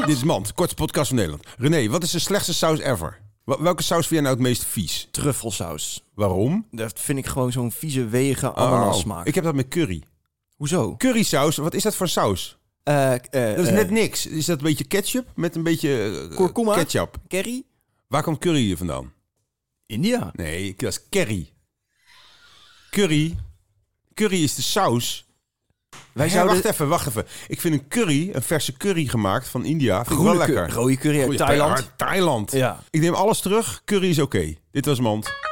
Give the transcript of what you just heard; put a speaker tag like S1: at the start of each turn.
S1: Dit is Mand, kortste podcast van Nederland. René, wat is de slechtste saus ever? Wa- Welke saus vind jij nou het meest vies?
S2: Truffelsaus.
S1: Waarom?
S2: Dat vind ik gewoon zo'n vieze wegen ananas smaak.
S1: Oh, Ik heb dat met curry.
S2: Hoezo?
S1: Currysaus, wat is dat voor saus?
S2: Eh, eh,
S1: Dat is
S2: eh,
S1: net niks. Is dat een beetje ketchup met een beetje eh,
S2: Kurkuma?
S1: ketchup?
S2: Curry?
S1: Waar komt curry hier vandaan?
S2: India.
S1: Nee, dat is curry. Curry. Curry is de saus. Wij
S2: zouden-
S1: Wacht even, wacht even. Ik vind een curry, een verse curry gemaakt van India, vind ik wel
S2: Groene
S1: lekker.
S2: curry. Rode curry uit
S1: Goeie
S2: Thailand.
S1: Thailand.
S2: Ja.
S1: Ik neem alles terug. Curry is oké. Dit was Mand.